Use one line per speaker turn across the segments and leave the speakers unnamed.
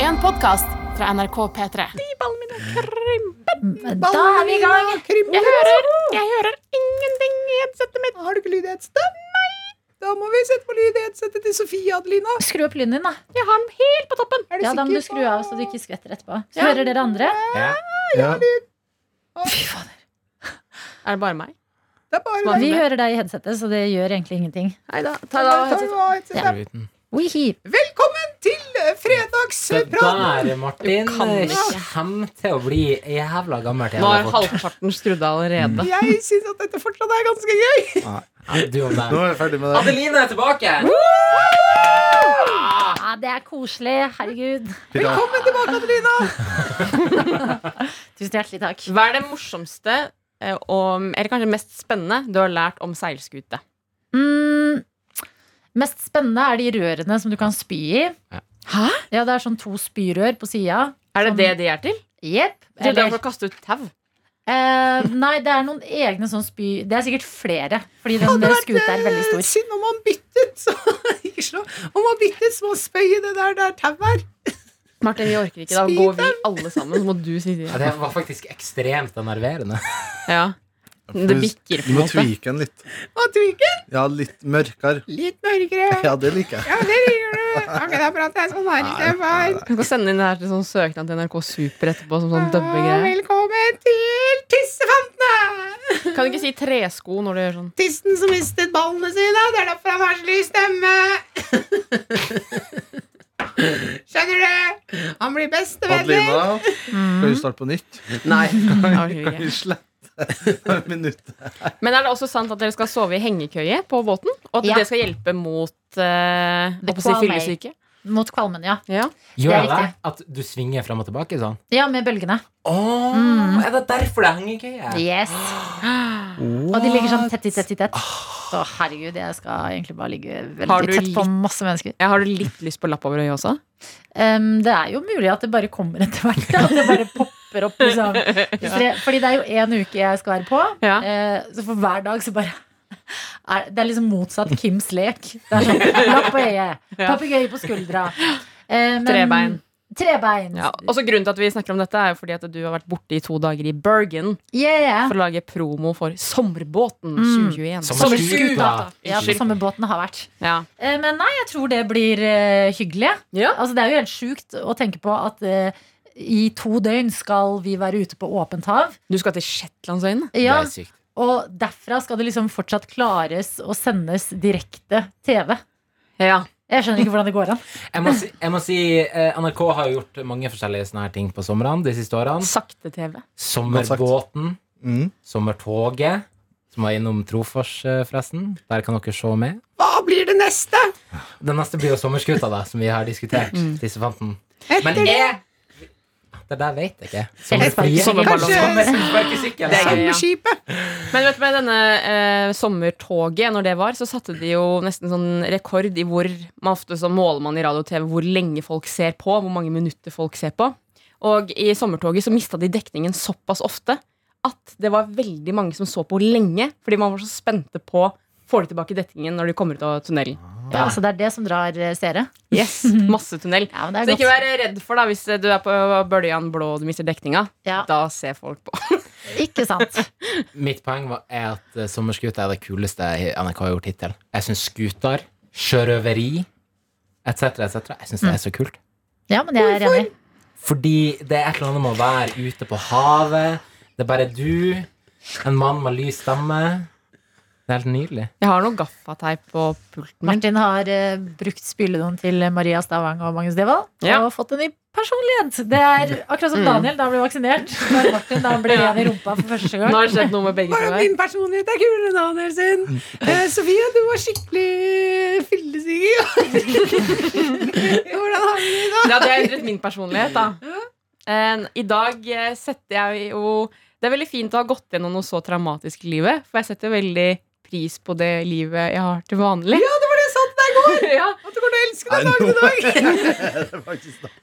en podkast fra NRK P3.
Da er vi i gang.
Jeg hører, jeg hører ingenting i headsetet mitt.
Har du ikke lyd i headsetet? Nei! Da må vi sette på lyd i headsetet til Sofie Adelina.
Skru opp lyden din, da.
Jeg har den helt på toppen.
Er du
Ja, da må du
sikker
skru
på-
av så du ikke skvetter etterpå. Så
Ja.
hører dere andre.
Ja.
Fy fader.
Er det bare meg?
Det er bare
Smart.
Vi hører deg i headsetet, så det gjør egentlig ingenting.
Nei da.
Ta
Ta da.
det av headsetet.
Prøv ut den.
Wihi.
Velkommen til eh,
Se
fredagsprat!
der, Martin.
kan ikke.
Kjem til å bli jævla gammel til
Nå er
jævla fort.
halvparten skrudd av allerede.
Jeg syns at dette fortsatt er ganske gøy.
Ja, Du og meg.
Nå er vi ferdig med det.
Adeline er tilbake!
Ja, det er koselig. Herregud.
Pirat.
Velkommen tilbake, Adelina.
Tusen hjertelig takk.
Hva er det morsomste eh, om, eller kanskje mest spennende du har lært om seilskute?
Mm, mest spennende er de rørene som du kan spy i.
Ja.
Hæ? Ja, det er sånn to spyrør på sida.
Er det
Som-
det de er til?
Jepp.
Til
Eller-
for å kaste ut tau?
Eh, nei, det er noen egne sånn spy... Det er sikkert flere, fordi den der skuta er veldig stor.
Eh, Synd om han byttet, så ikke slå. Om han byttet, så må han spøye det der der tau er.
Martin, vi orker ikke. Da
Spyd
går vi alle sammen, så må du si
Ja,
det.
det var faktisk ekstremt enerverende.
Ja. Det
Du
bikker på en
må
måte.
tweake den litt.
Og tviken
Ja, litt mørkere.
litt mørkere.
Ja, det liker jeg.
Ja, det liker du. Ok, det er bra at det er sånn her. Det er fint.
Du kan sende inn det her til sånn søknad til NRK Super etterpå. Som sånn
Og
dubbegreier.
Velkommen til tissefantene.
Kan du ikke si tresko når du gjør sånn?
Tissen som mistet ballene sine. Det er derfor han har så lys stemme. Skjønner du? Han blir bestevenner.
Adelina, kan
Mm.
vi starte på nytt?
Nei.
Jeg orker
Kan vi
ikke.
slette minuttet?
Men er det også sant at dere skal sove i hengekøye på båten? Og at
Ja.
det skal hjelpe mot eh,
The
hva skal jeg si,
qualm, eh.
fyllesyke?
Mot kvalmen, ja.
Ja.
Det
Gjør
er
det
riktig.
at du svinger fram og tilbake sånn?
Ja, med bølgene.
Åh,
Mm.
Er det derfor det er hengekøye?
Yes. Og de ligger sånn tett i tett i tett. Så herregud, jeg skal egentlig bare ligge
Har
veldig
du
tett på
litt-
masse mennesker.
Jeg har litt lyst på lapp over øyet også.
Em, det er jo mulig at det bare kommer etter hvert. At det bare popper opp, liksom. Hvis dere- Fordi det er jo én uke jeg skal være på,
Ja.
eh, så for hver dag så bare er, Det er liksom motsatt Kims lek. Det er sånn lapp på øyet,
Ja.
papegøye på skuldra. Eh, men-
Trebein.
Trebein.
Ja. Også grunnen til at vi snakker om dette, er jo fordi at du har vært borte i to dager i Bergen
Yeah, yeah.
for å lage promo for Sommerbåten
Mm.
2021.
Sommer- Sommerskuta.
Ja, for
Unnskyld.
sommerbåten har vært.
Ja.
Eh, Men nei, jeg tror det blir eh, hyggelig. jeg.
Ja.
Altså, det er jo helt sjukt å tenke på at eh, i to døgn skal vi være ute på åpent hav.
Du skal til Shetlandsøyene?
Ja,
Det er sykt.
og derfra skal det liksom fortsatt klares å sendes direkte TV.
Ja.
Jeg skjønner ikke hvordan det går an.
Jeg må si, jeg må si eh, NRK har jo gjort mange forskjellige sånne her ting på somrene de siste årene.
Sakte-TV.
Sommerbåten.
Mm.
Sommertoget, som var innom Trofors, eh, forresten. Der kan dere se med.
Hva blir det neste?
Den neste blir jo Sommerskuta, da, som vi har diskutert. Tissefanten. Men
Etter det?
jeg Det der vet jeg ikke.
Sommerfrie.
Sommerballong.
Kanskje-
Sommersparkesykkel. altså.
Det er gøy.
Sommerskipet.
Men vet du, med denne eh, sommertoget, når det var, så satte de jo nesten sånn rekord i hvor man ofte så måler man i radio og TV hvor lenge folk ser på, hvor mange minutter folk ser på. Og i sommertoget så mista de dekningen såpass ofte at det var veldig mange som så på lenge, fordi man var så spente på Får de tilbake dekningen når de kommer ut av tunnelen?
Ja, altså, det er det som drar eh, seere.
Yes, Masse tunnel.
Ja, men det
Så
er
ikke
godt.
vær redd for da hvis du er på bøljan blå og du mister dekninga.
Ja,
Da ser folk på.
ikke sant.
Mitt poeng var, er at eh, Sommerskuta er det kuleste NRK har gjort hittil. Jeg syns skuter, sjørøveri etc., etc. Jeg syns det er så kult.
Ja, men jeg er enig.
Fordi det er et eller annet med å være ute på havet. Det er bare du, en mann med lys stemme. Det er helt nydelig.
Jeg har noe gaffateip på pulten min.
Martin har eh, brukt spyledoen til Maria Stavang og Magnus Devold
Ja. Mm.
og fått en ny personlighet. Det er akkurat som Daniel da han ble vaksinert. Da er Martin da han ble ren i rumpa for første
Nå
gang.
har det skjedd noe med begge
Bare
to
at
her.
min personlighet er kulere enn Daniel sin. Eh, Sofie, du var skikkelig fyllesyk. Hvordan har du det i dag?
Ja, det er litt min personlighet, da. En, I dag eh, setter jeg jo Det er veldig fint å ha gått gjennom noe så traumatisk i livet, for jeg setter veldig pris på det livet jeg har til vanlig. Ja, det var det jeg sa til deg i går! ja.
At du kommer til å elske
Nei,
deg dagen i
nå
dag.
er det faktisk nok.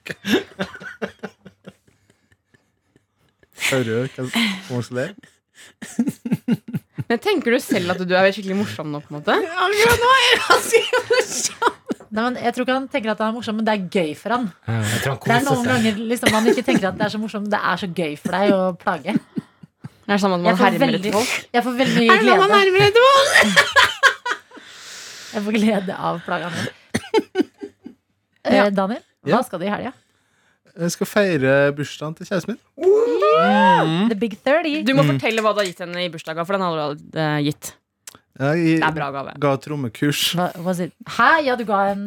Hører du hva folk ler?
Men tenker du selv at du er skikkelig morsom nå, på en måte?
Akkurat nå er jeg ganske morsom.
Nei, men jeg tror ikke han tenker at han er morsom, men det er gøy for han.
Jeg tror han
Det er
koser
noen
seg.
ganger liksom, man ikke tenker at det er så morsomt, men det er så gøy for deg å plage.
Det er sånn at
Jeg
man
får
hermer
veldig,
etter folk.
jeg får veldig mye
Er det noe man
glede,
nærmer etterpå?
jeg får glede av plaga mi.
Ja.
Eh, Daniel,
Ja.
hva skal du i helga?
Jeg skal feire bursdagen til kjæresten min.
The Big 30.
Du må fortelle hva du har gitt henne i bursdagen, for den har du allerede gitt.
Jeg
Det er bra gave.
ga trommekurs.
Hva, hva sier- Hæ? Ja, du ga en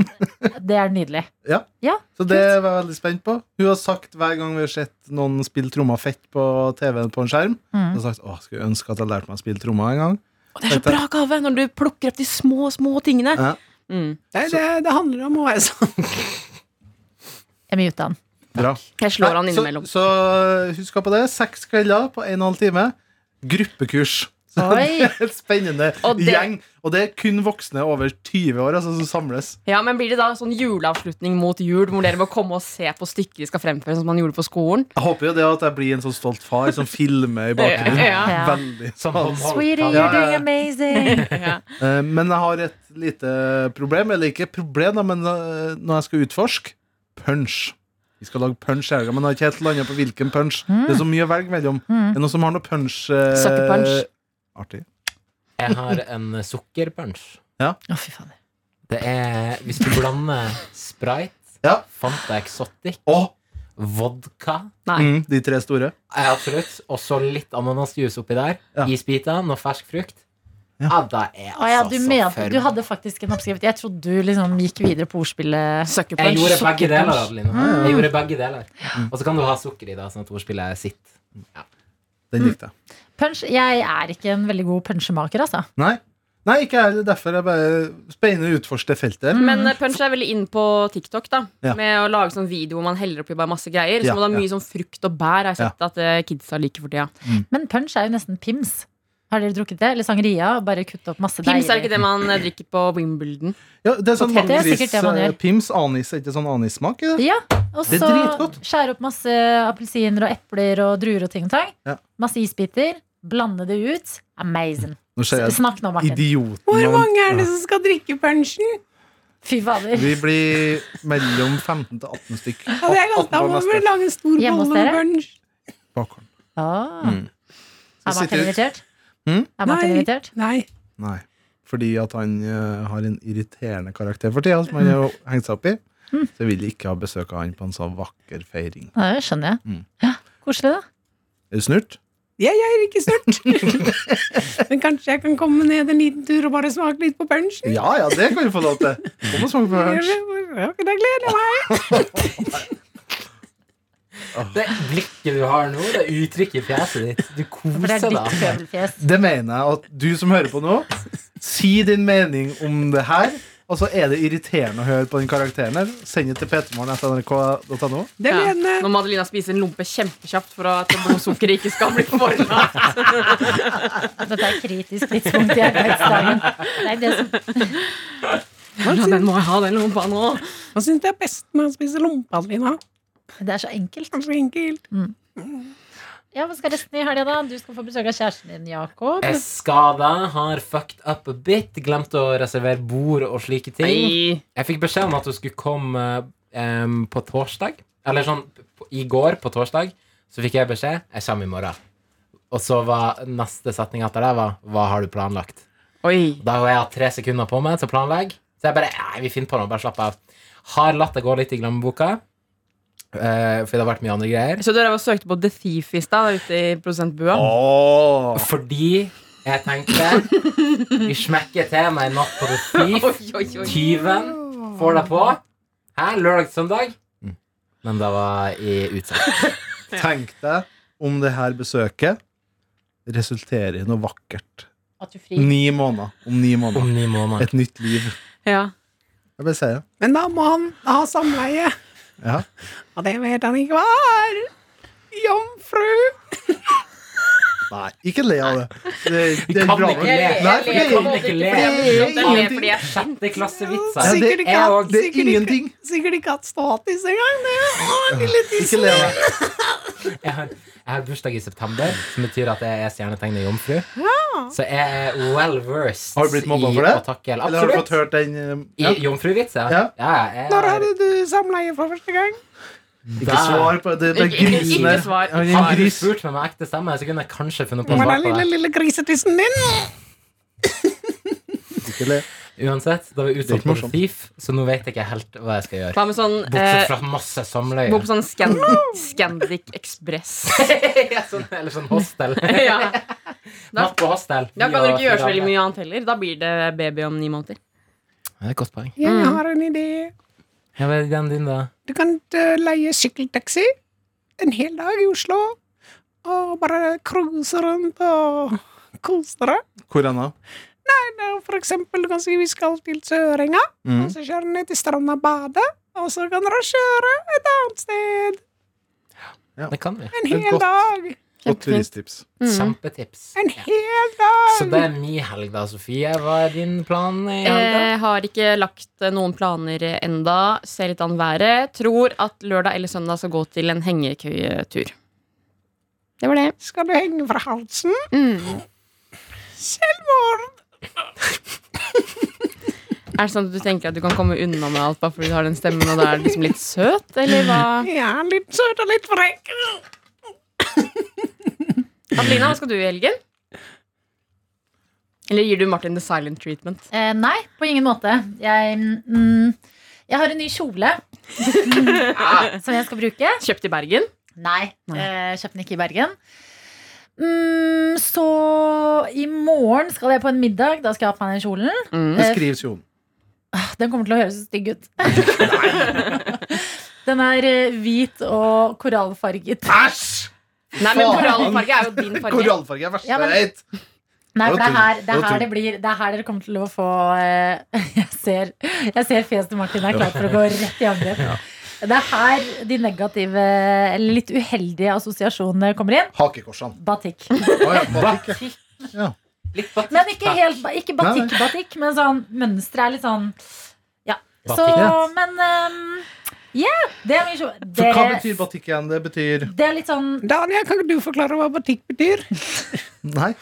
Det er nydelig.
Så det var jeg veldig spent på. Hun har sagt hver gang vi har sett noen spille trommer fett på TV-en på en skjerm,
Mm.
Hun har sagt, åh, skulle ønske at jeg lærte meg å spille trommer en gang.
Og det er så bra gave når du plukker opp de små, små tingene.
Ja.
Mm.
Det, det, det handler om å være sånn.
Jeg må mute han.
Bra.
Jeg slår han
Nei,
innimellom.
Så, så husk på det. Seks kvelder på en og en halv time. Gruppekurs. Så
Oi.
det er et spennende
Og det-
gjeng. Og det er kun voksne over 20 år altså, som samles.
Ja, men Blir det da sånn juleavslutning mot jul, hvor dere må komme og se på stykker de skal fremføre, sånn som man gjorde på skolen?
Jeg håper jo det at jeg blir en sånn stolt far som filmer i bakgrunnen.
Ja.
Ja.
Veldig
Som håndholdt.
Sweetie,
Ja,
you're
ja, ja.
doing amazing.
Ja.
Eh, Men jeg har et lite problem, eller ikke problem, da, men eh, når jeg skal utforske punch. Vi skal lage punch i helga, men jeg har ikke helt landa på hvilken punch. Det
Mm.
er så mye å velge mellom. Er det noen som har noe punch? eh,
Sokkepunch.
Artig.
Jeg har en sukkerpunch.
Å, fy faen.
Det er hvis du blander Sprite,
Ja.
Fanta Exotic,
Å,
vodka
Nei.
mm, de tre store.
eh, Absolutt. Og så litt ananasjuice oppi der.
Ja.
Isbiter, noe fersk frukt.
Ja.
Ja, det er
Å, ja, du,
så
mente,
for-
du hadde faktisk en oppskrift. Jeg trodde du liksom gikk videre på ordspillet.
Sucker
Jeg
punch.
gjorde begge deler,
Sukkerpunch.
Adeline. Jeg gjorde begge deler. Og så kan du ha sukker i, da, sånn at ordspillet sitt.
Mm.
Den likte jeg.
Punch, Jeg er ikke en veldig god punchemaker, altså.
Nei, Nei ikke jeg heller. Derfor jeg bare spennende å utforske det feltet.
Mm.
Men eh, Punch er veldig inn på TikTok, da
Ja.
med å lage sånn video hvor man heller oppi bare masse greier.
Ja,
Som det er
ja.
mye sånn frukt og bær har jeg sett at eh, kidsa liker for tida.
Men punch er jo nesten pims. Har dere drukket det? Eller sangria? og Bare kutt opp masse
Pims er
deig.
ikke det man eh, drikker på Wimbledon.
Ja, det er sånn
Potet
er sikkert
makris,
det man
eh,
gjør.
pims, anis, er ikke sånn anissmak i det?
Ja, og
Det er
så
dritgodt.
skjære opp masse appelsiner og epler og druer og ting og tang.
Ja.
Masse isbiter. Blande det ut. Amazing.
Nå ser jeg
Snakk nå, Martin.
idioten.
Hvor
av-
mange er det som skal drikke punchen?
Fy fader.
Vi blir mellom 15 til 18 stykk.
Ja, det er ganske, da må vi lage en stor
Hjemme hos
bolle med
dere?
punch.
Bakhånd.
Ah.
Mm. Så
Er Martin
sitter-
invitert?
Mm?
Er Martin
Nei.
invitert?
Nei.
Nei. Fordi at han eh, har en irriterende karakter for tida, som han har
Mm.
hengt seg opp i. Så jeg vil ikke ha besøk av han på en sånn vakker feiring.
Nei, det skjønner jeg.
Mm.
Ja, Koselig, da.
Er du snurt?
Jeg, jeg er ikke snurt. Men kanskje jeg kan komme ned en liten tur og bare smake litt på punchen?
Ja ja, det kan du få lov til. Kom og smake på punch.
Ja, Da gleder jeg meg.
Det blikket du har nå, det uttrykket i fjeset ditt, du
For det
koser
er ditt
deg.
pøbelfjes.
Det mener jeg at du som hører på nå, si din mening om det her. Og så er det irriterende å høre på den karakteren her. Send det til p3morgen.nrk.no.
Det
Ja.
gleder jeg
Når Madelina spiser en lompe kjempekjapt for at blodsukkeret ikke skal bli for lavt.
Dette er kritisk tidspunkt i arbeidsdagen. Det er det som
Ja, den må jeg ha, den lompa nå.
Hva syns du er best med å spise lompe, Adelina?
Det er så enkelt.
Kanskje enkelt.
Ja, Hva skal resten i helga, da? Du skal få besøk av kjæresten din, Jakob.
Jeg er skada, har fucked up a bit, glemt å reservere bord og slike ting.
Nei.
Jeg fikk beskjed om at hun skulle komme em, på torsdag. Eller sånn på, i går, på torsdag, så fikk jeg beskjed. Jeg kommer i morgen. Og så var neste setning etter det var Hva har du planlagt?
Oi.
Da har jeg hatt tre sekunder på meg til å planlegge. Så jeg bare Nei, vi finner på noe. Bare slapp av. Har latt det gå litt i glemmeboka. eh, fordi det har vært mye andre greier.
Så dere var søkte på The Thief i stad, der ute i produsentbua?
Åh.
Fordi jeg tenkte Vi smekker til med en natt på The Thief.
Oi, oi, oi.
Tyven får deg på. Hæ? Lørdag til søndag?
Mm.
Men det var i utsatt.
Tenk deg om det her besøket resulterer i noe vakkert.
At du fri.
Ni måneder. Om ni måneder.
Om ni måneder.
Et nytt liv.
Ja.
Jeg bare sier det.
Men da må han ha samleie.
Ja.
Og det vet han ikke hva er. Jomfru.
Nei, ikke le av det. Det, det er
kan
bra.
ikke le.
Nei, for det,
Jeg kan ikke le.
det er ingenting.
Det
Det er fordi jeg er
er
Ja,
klassevitser.
det-
Sikkert ikke
jeg
hatt-
også.
Det er
sikkert ikke-
ingenting.
Sikkert ikke hatt status engang. det. Å, lille tiss.
Ikke le av det.
Jeg har, jeg har bursdag i september, som betyr at jeg er stjernetegnet jomfru. Så jeg er well versed
Har du blitt mobba for
i
det?
å takle
Eller har du fått hørt
Absolutt.
den eh,
I
ja.
jomfruvitser?
Ja.
jeg
Når
er
hadde du samleie for første gang?
Ikke svar på det, den
Ikke- ikke-
grisen
ikke
der.
svar,
Ja,
ikke
den
Hadde du
gris.
spurt meg med ekte stemme, så kunne jeg kanskje funnet på å
Med
svare
den
på
Mm. lille,
det.
lille grisetissen din?
Ikke le.
Uansett, da var jeg
Det er
utsatt
ikke
for
morsomt.
thief, så nå vet jeg ikke helt hva jeg skal gjøre.
Ta med sånn eh,
Bortsett fra masse
Bo
samleie.
på sånn Scan Scandic Express.
Ja, sånn, eller sånn hostel.
ja.
Natt på hostel.
Da kan
Vi
du
og
ikke gjøre så
fire
veldig
andre.
mye annet heller. Da blir det baby om ni måneder.
Ja, Det er et godt poeng.
Jeg
Mm.
har en idé.
Ja, hva er den din, da?
Du kan eh, leie sykkeltaxi en hel dag i Oslo, og bare cruise rundt og kose deg.
Hvor er den?
Eller For eksempel, du kan si vi skal til Sørenga,
Mm.
og så kjører du ned til stranda og bader, og så kan dere kjøre et annet sted
Det kan vi.
en
Det er
hel
godt.
dag.
Godt turistips.
Kjempetips.
En hel dag!
Så det er min helg, da, Sofie. Hva er din plan i helga?
Jeg Eh, har ikke lagt eh, noen planer enda Ser litt an været. Tror at lørdag eller søndag skal gå til en hengekøyetur. Det var det.
Skal du henge fra halsen?
Mm.
Selvmord!
Er det sånn at du tenker at du kan komme unna med alt bare fordi du har den stemmen, og da er du liksom litt søt, eller hva?
Ja, litt søt og litt frekk.
Adelina, hva skal du i helgen? Eller gir du Martin the silent treatment?
Eh, nei, på ingen måte. Jeg, mm, jeg har en ny kjole som jeg skal bruke.
Kjøpt i Bergen?
Nei,
Nei.
eh, kjøpte den ikke i Bergen. Mm, så i morgen skal jeg på en middag. Da skal jeg ha på meg den kjolen. Ah,
Mm.
Beskriv Jon.
Den kommer til å høres stygg ut. den er eh, hvit og korallfarget.
Ah, Æsj!
Nei, men korallfarge er jo din farge.
Korallfarge er verste
Ja, men-
jeg vet.
Nei, for det
Det
er
var
her det, er
tull. Det var
her det
tull.
blir Det er her dere kommer til å få eh, Jeg ser, jeg ser fjeset til Martin er klar for å gå rett i angrep. Det er her de negative, eller litt uheldige assosiasjonene kommer inn.
Hakekorsene.
Batikk.
Å ja, batikk, Eh, ja.
Litt batikk,
Men ikke
da.
helt ba- Ikke batikk-batikk, men sånn mønsteret er litt sånn Ja. Så,
Batikk, ja.
men ehm, yeah, det er mye sjå-
For hva
Dere-
betyr batikk igjen? Det betyr
Det er litt sånn
Daniel, kan ikke du forklare hva butikk betyr?
Nei.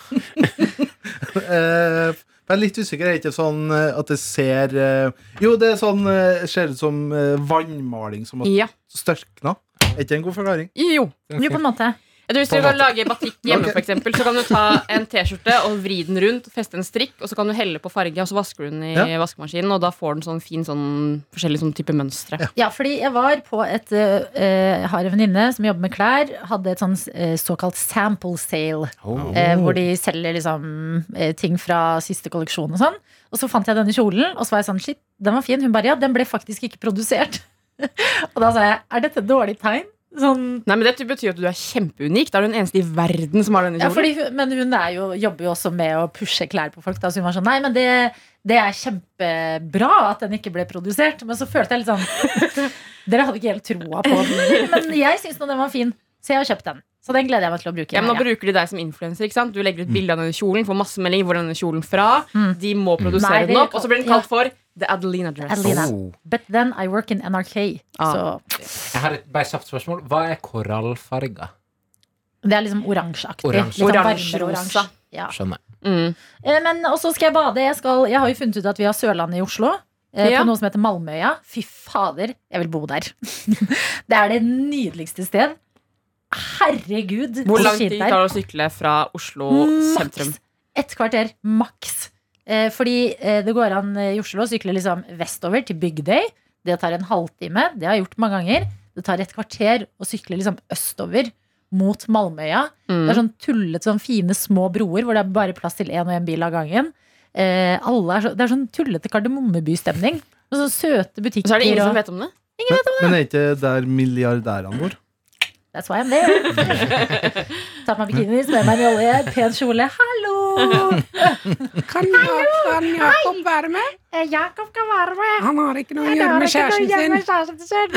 Eh, jeg er litt usikker. Er det ikke sånn eh, at det ser eh, Jo, det er sånn eh, ser ut som eh, vannmaling som har
Ja.
størkna. Er ikke det en god forklaring?
Jo.
Jo, på en måte.
Jeg tror Hvis du kan lage batikk
Ok.
hjemme, for eksempel, så kan du ta en T-skjorte og vri den rundt, feste en strikk, og så kan du helle på farge, og så vasker du den i
Ja.
vaskemaskinen, og da får den sånn fin sånn forskjellig sånn type mønstre.
Ja, fordi jeg var på et eh, eh, Jeg har en venninne som jobber med klær. Hadde et sånn eh, såkalt sample sale.
Oh.
eh, hvor de selger liksom eh, ting fra siste kolleksjon og sånn. Og så fant jeg denne kjolen, og så var jeg sånn shit, den var fin. Hun bare ja, den ble faktisk ikke produsert. og da sa jeg er dette et dårlig tegn? Sånn
Nei, men Det betyr jo at du er kjempeunik. Da er du den eneste i verden som har denne
Ja,
kjolen.
fordi hun, men hun er jo, jobber jo også med å pushe klær på folk. Da, så hun var sånn Nei, men det, det er kjempebra at den ikke ble produsert. Men så følte jeg litt sånn Dere hadde ikke helt troa på den. Men jeg syns nå den var fin, så jeg har kjøpt den. Så den gleder jeg meg til å bruke.
Ja,
i
men Nå
helga.
bruker de deg som influenser. ikke sant? Du legger ut bilde av denne kjolen, får masse melding hvor er denne kjolen fra.
Mm.
De må produsere
Nei, det
den opp,
kan-
og så blir den kalt for The Adelina Dress.
Adelina.
Oh.
But then I work in NRK.
Ah.
Så
Jeg har et bare kjapt spørsmål. Hva er korallfarga?
det er liksom oransjeaktig.
Oransje.
Litt sånn
Oransje,
varmere
rosa.
oransje. Ja.
Skjønner.
Mm.
Eh, Men også skal jeg bade. Jeg, skal, jeg har jo funnet ut at vi har Sørlandet i Oslo. eh,
Ja.
På noe som heter Malmøya. Fy fader, jeg vil bo der. det er det nydeligste sted. Herregud,
Hvor
så
lang
fint
tid
det er.
tar det å sykle fra Oslo sentrum?
Maks et kvarter. Maks. Eh, fordi eh, det går an eh, i Oslo å sykle liksom vestover til Bygdøy. Det tar en halvtime. Det har jeg gjort mange ganger. Det tar et kvarter å sykle liksom østover mot Malmøya. Det er
Mm.
sånn tullete, sånn fine små broer hvor det er bare plass til én og én bil av gangen. Eh, alle er så, det er sånn tullete kardemommebystemning. Og så søte
Og
butikker.
så er det ingen som
og,
vet om det.
Men, men er ikke der milliardærene bor?
That's why I'm there. Ta på meg bikini, smør meg med olje, pen kjole. Hallo!
Kan, Ja- kan Jakob være med?
Eh, Jakob kan være med.
Han har ikke noe å gjøre med kjæresten sin.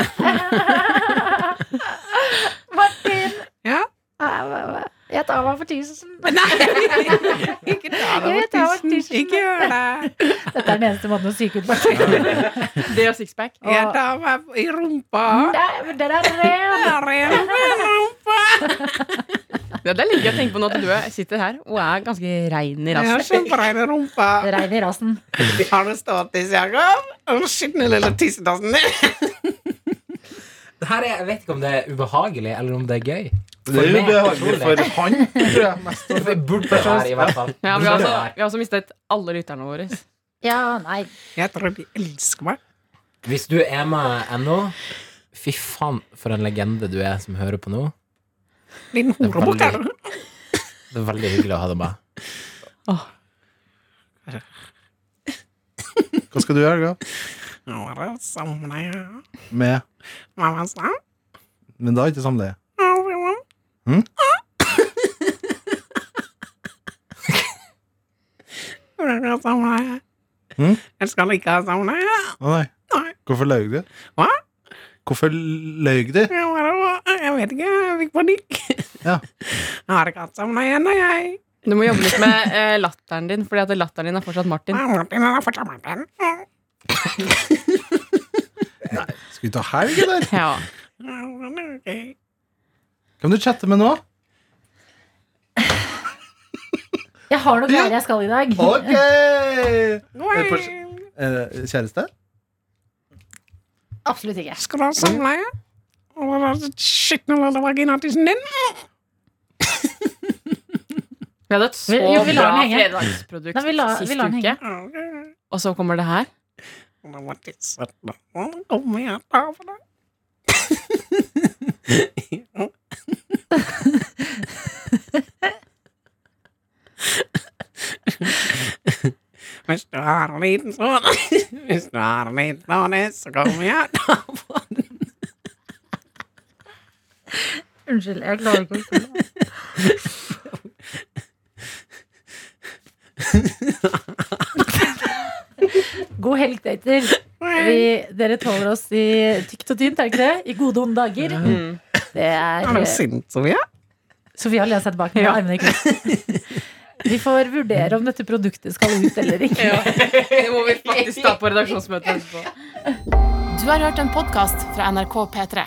Martin!
Ja?
eh, Jeg tar meg for tusen.
Ikke ta
Jo, jeg
deg
tar
over
over
tissen.
tissen.
Ikke gjør det.
Dette er den eneste måten å psyke ut Martin.
Det og sixpack.
Jeg tar meg i rumpa.
Den er ren!
Der er det med rumpa.
Ja, det er litt gøy å tenke på nå at du er- sitter her og er ganske rein i
Jeg har
rassen.
sånn.
så brein rumpa.
Det regner i rasen.
Har du ståtiss, Jakob? Å, skitne lille tissedassen din.
Det her er, jeg vet ikke om det er ubehagelig, eller om det er gøy.
Det er jo
meg,
behagelig
personlig.
for han, tror jeg. Mest
Vi burde være, i hvert fall.
Ja, altså- vi,
Burde
har også,
være.
vi har også mistet alle lytterne våre.
Ja, nei.
Jeg tror de elsker meg.
Hvis du er med ennå, fy faen for en legende du er som hører på nå.
Din horebukk er du.
Det er veldig hyggelig å ha deg med.
Hva skal du gjøre, Helga?
Nå er det sommer, ja.
Med
Mamma sa
Men da er ikke sammen det.
«Au, mamma».
Hm?
Vil du ha sommerleie?
Hm?
Jeg skal ikke ha sommerleie.
Å nei.
Nei.
Hvorfor løy du?
Hva?
Hvorfor løy du?
Jeg bare- jeg vet ikke, jeg fikk panikk.
Ja.
Jeg har ikke hatt sommerleie ennå, jeg.
Du må jobbe litt med eh, latteren din, Fordi at latteren din er fortsatt Martin.
Ja, Martin han er fortsatt Martin.
Skal vi ta helg, eller?
Ja.
Ja, ok.
Hvem du chatter med nå?
Jeg har noen
Ja.
greier jeg skal i dag.
Ok!
Nå
Er det
er
på- Er det kjæreste?
Absolutt ikke.
Skal du ha sommerleie? Og hva var det skitne lille vaginatissen din?
Vi hadde et så
Vi- jo, vi lar
bra
den henge.
fredagsprodukt
Nei, vi lar- vi
sist
lar den
uke,
henge.
Ja, ok.
og så kommer det her.
Det var tisset da. Kom igjen, ta på deg. Hvis du har en liten sånn Hvis du har en liten sånn, så kom igjen.
Unnskyld, jeg klarer ikke å spille. God helg, dater. Vi, dere tåler oss i tykt og tynt, er det ikke det? I gode og onde dager.
Mm.
Det
Er
er
du sint, Sofia?
Sofia lener seg tilbake med
Ja.
armene i kryss. Vi får vurdere om dette produktet skal ut eller ikke.
Det må vi faktisk ta på redaksjonsmøtet etterpå.
Du har hørt en podkast fra NRK P3.